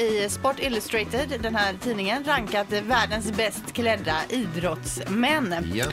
i Sport Illustrated, den här tidningen, rankat världens bäst klädda idrottsmän. Ja.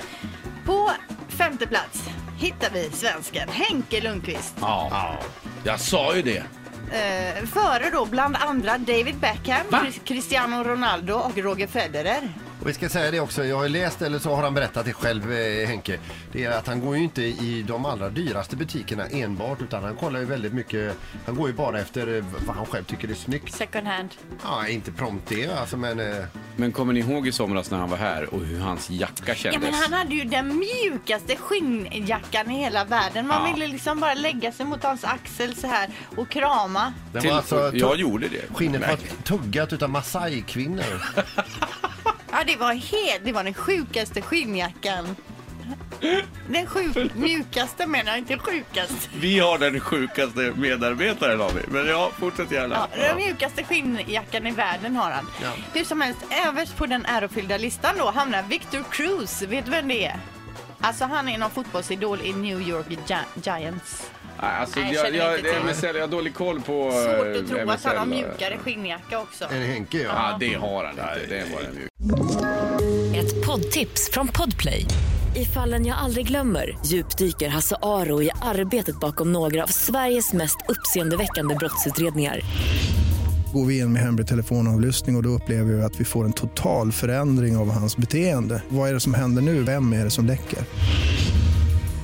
På femte plats hittar vi svensken Henke Lundqvist. Ja. Jag sa ju det. Eh, före då bland andra David Beckham, Va? Chris- Cristiano Ronaldo och Roger Federer. Och vi ska säga det också, jag har ju läst eller så har han berättat det själv eh, Henke. Det är att han går ju inte i de allra dyraste butikerna enbart utan han kollar ju väldigt mycket. Han går ju bara efter eh, vad han själv tycker är snyggt. Second hand. Ja, inte prompt det alltså men... eh, Men kommer ni ihåg i somras när han var här och hur hans jacka Ja, kändes? men han hade ju den mjukaste skinnjackan i hela världen. Man Ja. ville liksom bara lägga sig mot hans axel så här och krama. Den Till... var alltså... Jag gjorde det. Skinnet var Märkligt. tuggat utav Masai-kvinnor. Ja, det var, helt, det var den sjukaste skinnjackan. Den sjuk, mjukaste menar jag, inte sjukaste. Vi har den sjukaste medarbetaren har vi. Men ja, fortsätt gärna. Ja, den mjukaste skinnjackan i världen har han. Ja. Hur som helst, överst på den ärofyllda listan då hamnar Victor Cruz. Vet du vem det är? Alltså han är någon fotbollsidol i New York Gi- Giants. Nej, Alltså, Nej, jag, känner jag, inte till. MSL, jag har dålig koll på Svårt eh, att tro att han har MSL. mjukare skinnjacka också. Är det Henke ja? Ja, det har han inte. Det var den mjuk. Ett poddtips från Podplay. I fallen jag aldrig glömmer djupdyker Hasse Aro i arbetet bakom några av Sveriges mest uppseendeväckande brottsutredningar. Går vi in med hemlig telefonavlyssning och, och då upplever vi att vi får en total förändring av hans beteende. Vad är det som händer nu? Vem är det som läcker?